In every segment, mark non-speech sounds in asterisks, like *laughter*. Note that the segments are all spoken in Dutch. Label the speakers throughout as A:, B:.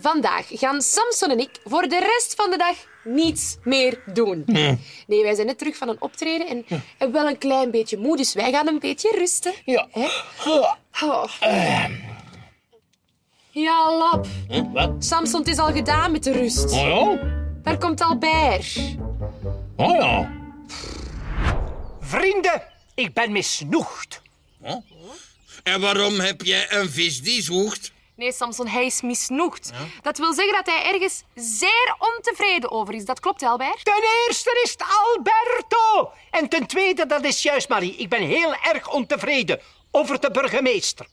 A: Vandaag gaan Samson en ik voor de rest van de dag niets meer doen. Nee, wij zijn net terug van een optreden en, en wel een klein beetje moe, dus wij gaan een beetje rusten.
B: Ja.
A: Hè? Oh. Ja, lap.
B: Huh, Wat?
A: Samson, het is al gedaan met de rust.
B: Oh ja?
A: Daar komt Albert.
B: Oh ja.
C: Vrienden, ik ben misnoegd.
D: En waarom heb jij een vis die zwoegt?
A: Nee, Samson, hij is misnoegd. Dat wil zeggen dat hij ergens zeer ontevreden over is. Dat klopt, Albert?
C: Ten eerste is het Alberto. En ten tweede, dat is juist Marie. Ik ben heel erg ontevreden over de burgemeester.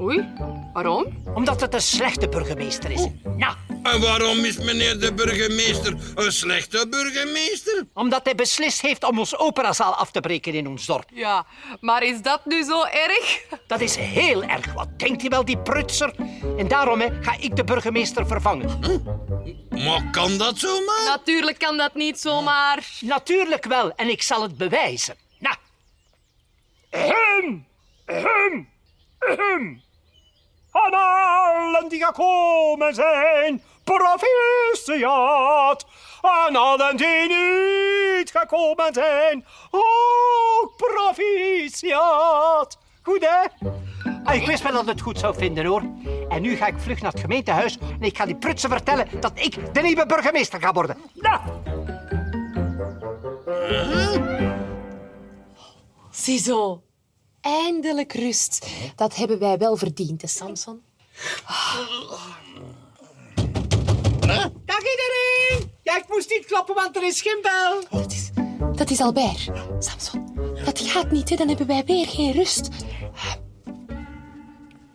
A: Oei, waarom?
C: Omdat het een slechte burgemeester is. Nou,
D: En waarom is meneer de burgemeester een slechte burgemeester?
C: omdat hij beslist heeft om ons operazaal af te breken in ons dorp.
E: Ja, maar is dat nu zo
A: *laughs*
E: erg?
C: Dat is heel erg. Wat denkt hij wel, die prutser? En daarom hè, ga ik de burgemeester vervangen.
D: Maar kan dat zomaar?
E: Natuurlijk kan dat niet zomaar.
C: Natuurlijk wel, en ik zal het bewijzen. Nou. Ahem. Ahem. Ahem. Aan allen die gekomen zijn, proficiat. Aan allen die niet gekomen zijn, ook proficiat. Goed, hè? Ah, ik wist wel dat het goed zou vinden, hoor. En nu ga ik vlug naar het gemeentehuis en ik ga die prutsen vertellen dat ik de nieuwe burgemeester ga worden. Nou.
A: Ziezo. Eindelijk rust. Dat hebben wij wel verdiend, hè, Samson?
C: Dag iedereen! Ja, ik moest niet klappen, want er is geen bel.
A: Dat is, dat is Albert. Samson, dat gaat niet, hè. Dan hebben wij weer geen rust.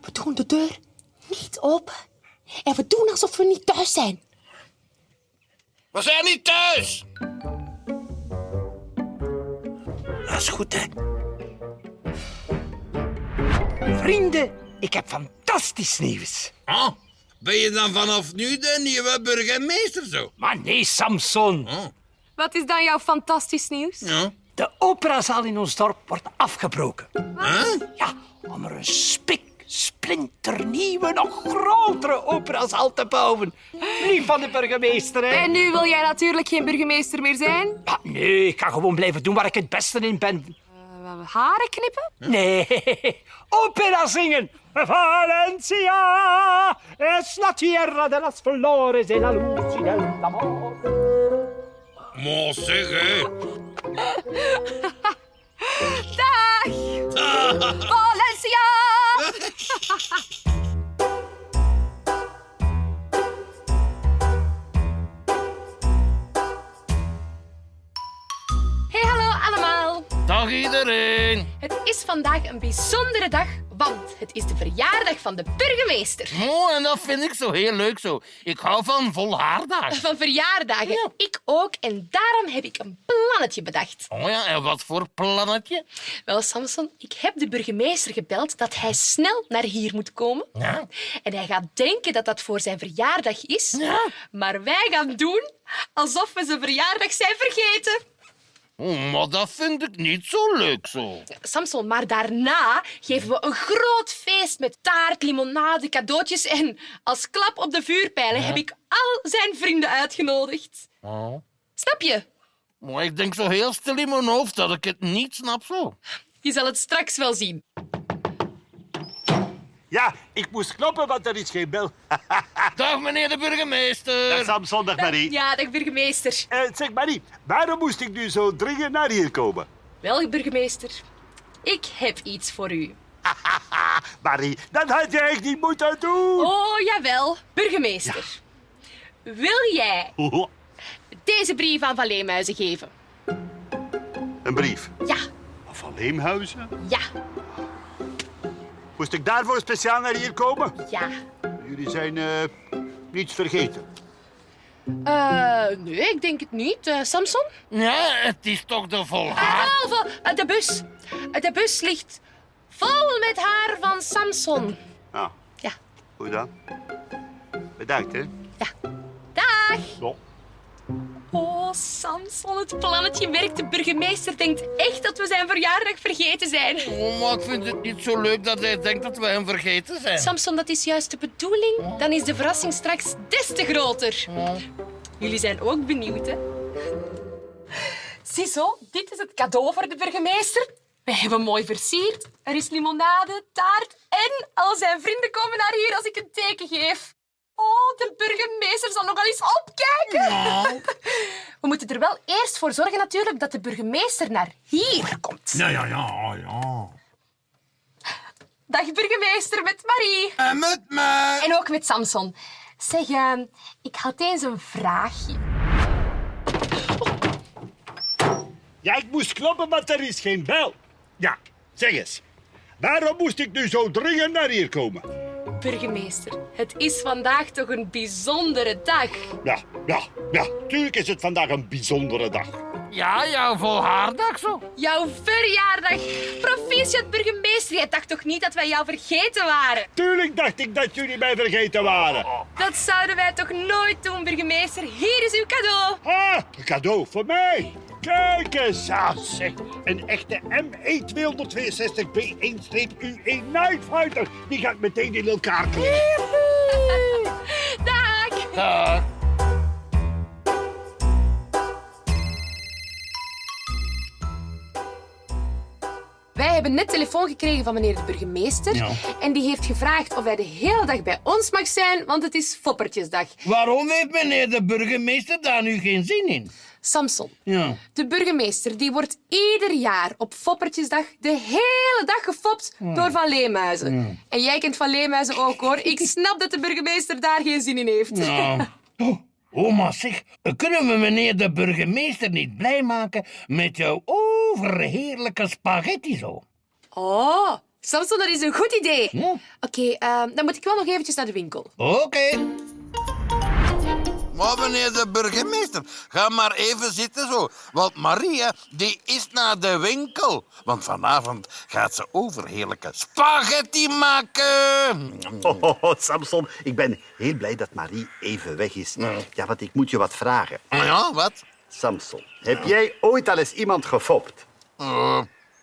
A: We doen de deur niet open. En we doen alsof we niet thuis zijn.
D: We zijn niet thuis!
B: Dat is goed, hè?
C: Vrienden, ik heb fantastisch nieuws.
D: Ah, ben je dan vanaf nu de nieuwe burgemeester zo?
C: Maar nee, Samson.
E: Wat is dan jouw fantastisch nieuws?
D: Ja.
C: De operazaal in ons dorp wordt afgebroken.
D: Huh?
C: Ja, om er een spik, splinternieuwe, nog grotere operazaal te bouwen. Lief van de burgemeester, hè?
E: En nu wil jij natuurlijk geen burgemeester meer zijn.
C: Maar Ah, nee, ik ga gewoon blijven doen waar ik het beste in ben.
E: Eh, Haren knippen?
C: Nee, *laughs* opera zingen. Valencia es la tierra de las flores de la luz y del amor.
D: Maar zeg, hè.
E: Dag!
B: Ah.
E: Valencia!
A: Hey, hallo allemaal.
B: Dag iedereen.
A: Het is vandaag een bijzondere dag, want het is de verjaardag van de burgemeester.
B: Oh, en dat vind ik zo heel leuk zo. Ik hou van volhaardagen.
A: Van verjaardagen. Ik ook. En daarom heb ik een plannetje bedacht.
B: Oh ja, en wat voor plannetje?
A: Wel, Samson, ik heb de burgemeester gebeld dat hij snel naar hier moet komen.
B: Ja.
A: En hij gaat denken dat dat voor zijn verjaardag is.
B: Ja.
A: Maar wij gaan doen alsof we zijn verjaardag zijn vergeten.
B: Oh, maar dat vind ik niet zo leuk zo.
A: Samson, maar daarna geven we een groot feest met taart, limonade, cadeautjes. En als klap op de vuurpijlen heb ik al zijn vrienden uitgenodigd.
B: Oh.
A: Snap je?
B: Maar ik denk zo heel stil in mijn hoofd dat ik het niet snap zo.
A: Je zal het straks wel zien.
F: Ja, ik moest kloppen, want er is geen bel.
B: Dag meneer de burgemeester.
F: Dag Samson, dag Marie.
A: Ja, dag burgemeester.
F: Eh, zeg Marie, waarom moest ik nu zo dringend naar hier komen?
A: Wel, burgemeester, ik heb iets voor u.
F: Marie, dat had je echt niet moeten
G: *laughs*
F: doen.
A: Oh, jawel, burgemeester. Wil jij
F: Oh,
A: deze brief aan Van Leemuizen geven?
F: Een brief.
A: Ja,
F: Van Leemhuizen?
A: ja,
F: Moest ik daarvoor speciaal naar hier komen?
A: ja.
F: Jullie zijn eh, niets vergeten.
A: Eh, nee, ik denk het niet. Eh, Samson?
B: Ja, het is toch de volhaar.
A: Behalve eh, de bus. Eh, de bus ligt vol met haar van Samson.
F: Nou,
A: Ja,
F: hoe dan? Bedankt, hè.
A: dag.
F: Zo.
A: Oh, Samson, het plannetje werkt. De burgemeester denkt echt dat we zijn verjaardag vergeten zijn.
B: Oh, maar ik vind het niet zo leuk dat hij denkt dat we hem vergeten zijn.
A: Samson, dat is juist de bedoeling. Dan is de verrassing straks des te groter. Jullie zijn ook benieuwd, hè? Ziezo, dit is het cadeau voor de burgemeester. We hebben mooi versierd. Er is limonade, taart en al zijn vrienden komen naar hier als ik een teken geef. Oh, de burgemeester zal nogal eens opkijken. *laughs* We moeten er wel eerst voor zorgen natuurlijk dat de burgemeester naar hier komt.
D: Ja, ja, ja, ja.
A: Dag burgemeester met Marie.
D: En met mij.
A: En ook met Samson. Zeg, eh, ik had eens een vraagje.
G: Ja, ik moest kloppen, maar er is geen bel. Ja, zeg eens. Waarom moest ik nu zo dringend naar hier komen?
A: Burgemeester, het is vandaag toch een bijzondere dag.
G: Ja, ja, ja. Tuurlijk is het vandaag een bijzondere dag.
B: Ja, ja, vol haardag zo.
A: Jouw verjaardag. Proficiat, burgemeester. Jij dacht toch niet dat wij jou vergeten waren?
G: Tuurlijk dacht ik dat jullie mij vergeten waren.
A: Dat zouden wij toch nooit doen, burgemeester. Hier is uw cadeau.
G: Ah, een cadeau voor mij. Kijk eens aan, zeg. Een echte E ME262B1-U1 E Nightfighter. Die ga ik meteen in elkaar knippen.
E: *laughs*
A: Dag.
B: Dag.
E: Wij hebben net telefoon gekregen van meneer de burgemeester. En die heeft gevraagd of hij de hele dag bij ons mag zijn, want het is Foppertjesdag.
B: Waarom heeft meneer de burgemeester daar nu geen zin in?
E: Samson,
B: Ja.
E: de burgemeester, die wordt ieder jaar op Foppertjesdag de hele dag gefopt
B: Hmm.
E: door Van Leemuizen. En jij kent Van Leemuizen ook, hoor. Ik snap dat de burgemeester daar geen zin in heeft.
B: Nou. Oh, Oma, zeg, kunnen we meneer de burgemeester niet blij maken met jouw overheerlijke spaghetti zo?
E: Oh, Samson, dat is een goed idee. Oké, ehm, dan moet ik wel nog eventjes naar de winkel.
B: Oké.
D: Maar meneer de burgemeester, ga maar even zitten zo. Want Maria, die is naar de winkel. Want vanavond gaat ze overheerlijke spaghetti maken.
F: Oh, oh, oh, Samson, ik ben heel blij dat Marie even weg is. Ja, want ik moet je wat vragen.
D: Ah Ja, wat?
F: Samson, heb jij ooit al eens iemand gefopt?
D: Eh,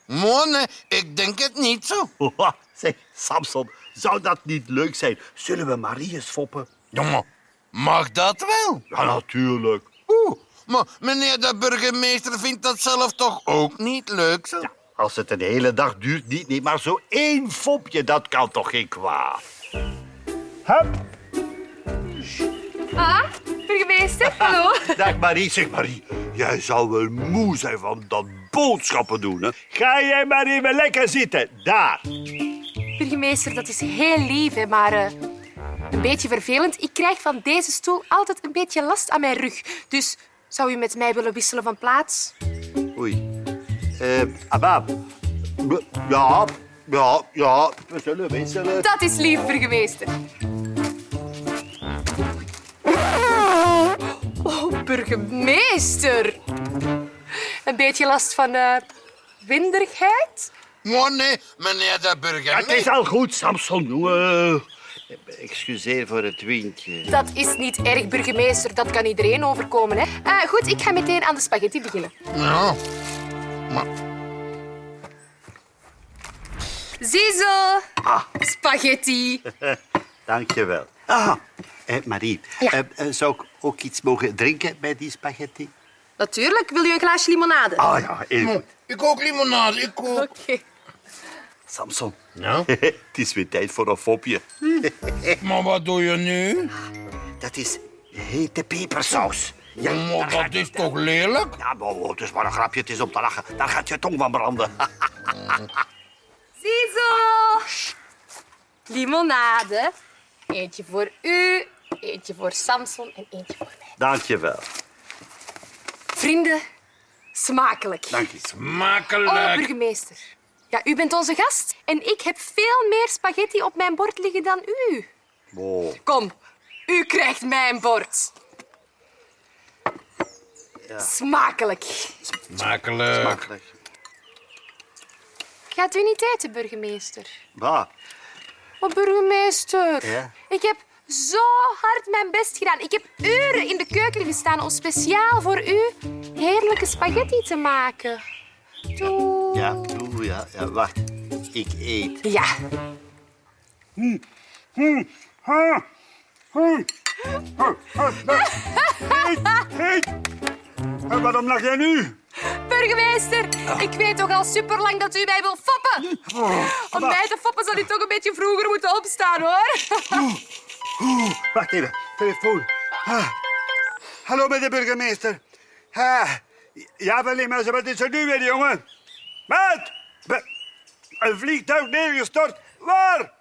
D: mooi, nee, ik denk het niet zo.
F: Oha, Zeg, Samson, zou dat niet leuk zijn? Zullen we Marie eens foppen?
D: Jongen, mag dat wel?
F: Ja, natuurlijk.
D: Oeh, maar meneer de burgemeester vindt dat zelf toch ook niet leuk zo?
F: Ja, als het een hele dag duurt, niet, niet. Maar zo één fopje, dat kan toch geen kwaad?
G: Hup.
E: Ah, burgemeester, hallo.
F: Dag Marie. Zeg Marie, jij zou wel moe zijn van dat boodschappen doen, hè?
G: Ga jij maar even lekker zitten. Daar.
E: burgemeester, dat is heel lief, hè, maar eh, een beetje vervelend. Ik krijg van deze stoel altijd een beetje last aan mijn rug. Dus zou u met mij willen wisselen van plaats?
F: Oei. Eh, Abab. Ja, ja, ja, we zullen wisselen.
E: Dat is lief, burgemeester. Oh, burgemeester. Een beetje last van eh, winderigheid?
D: Mooi, Oh, nee, meneer de
G: Het is
D: burgemeester.
G: al goed, Samson. Eh,
F: Excuseer voor het windje.
E: Dat is niet erg, burgemeester. Dat kan iedereen overkomen, hè? Eh, goed, ik ga meteen aan de spaghetti beginnen.
D: Ja,
E: Ziezo, spaghetti.
F: Dankjewel. Ah, eh, Marie,
E: Ja.
F: eh, eh, zou ik ook iets mogen drinken bij die spaghetti?
E: Natuurlijk, wil je een glaasje limonade?
F: Ah ja, heel goed.
D: ik ook limonade, ik ook. Nou.
E: Oké.
F: Samson,
B: Ja?
F: *laughs* het is weer tijd voor een fopje.
B: Maar wat doe je nu?
F: Dat is hete pepersaus. Ja,
B: Maar
F: daar ga
B: dat is toch lelijk?
F: Ja, maar oh, het is maar een grapje, het is om te lachen. Daar gaat je tong van branden. *laughs*
E: Ziezo! Limonade. Eentje voor u, eentje voor Samson en eentje voor mij.
F: Dankjewel.
E: Vrienden, smakelijk.
F: Dank je.
E: Oh,
D: Makkelijk.
E: burgemeester. Ja, u bent onze gast en ik heb veel meer spaghetti op mijn bord liggen dan u.
F: Wow.
E: Kom, u krijgt mijn bord. Smakelijk.
H: Eh.
D: Makkelijk.
F: Makkelijk.
E: Gaat u niet eten, burgemeester?
F: Maar,
E: Oh, burgemeester.
F: Ja?
E: Ik heb
A: zo hard mijn best gedaan. Ik heb uren in de keuken gestaan om speciaal voor u heerlijke spaghetti te maken. Doei.
H: Ja, oeh, ja, ja, wacht. Ik eet.
A: Ja.
F: Eh,
I: En waarom lag jij nu?
A: Burgemeester, ik weet toch al superlang dat u mij wil foppen. Om mij te foppen zal u toch een beetje vroeger moeten opstaan, hoor.
F: Wacht even, telefoon. Ah. Hallo, met de burgemeester. Ah. Ja, wel, mensen, wat is er nu weer, jongen? Maat! Be- Een vliegtuig neergestort. Waar?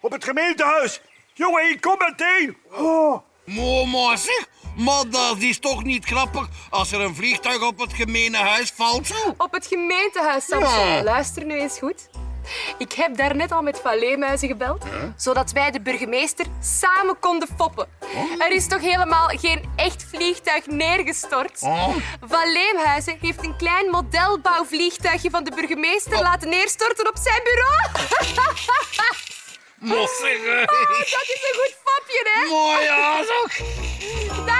F: Op het gemeentehuis. Jongen, ik kom meteen. Oh.
D: Mooi, maar zeg. Maar dat is toch niet grappig als er een vliegtuig op het gemene huis valt? Zo.
A: Op het gemeentehuis, Samson. Luister nu eens goed. Ik heb daarnet al met Valleemuizen gebeld, zodat wij de burgemeester samen konden foppen. Er is toch helemaal geen echt vliegtuig neergestort? Valleemhuizen heeft een klein modelbouwvliegtuigje van de burgemeester laten neerstorten op zijn bureau.
D: Maar zeg,
A: Dat is een goed fopje, hè?
D: mooi, Oh, ja, zo.
A: Dag,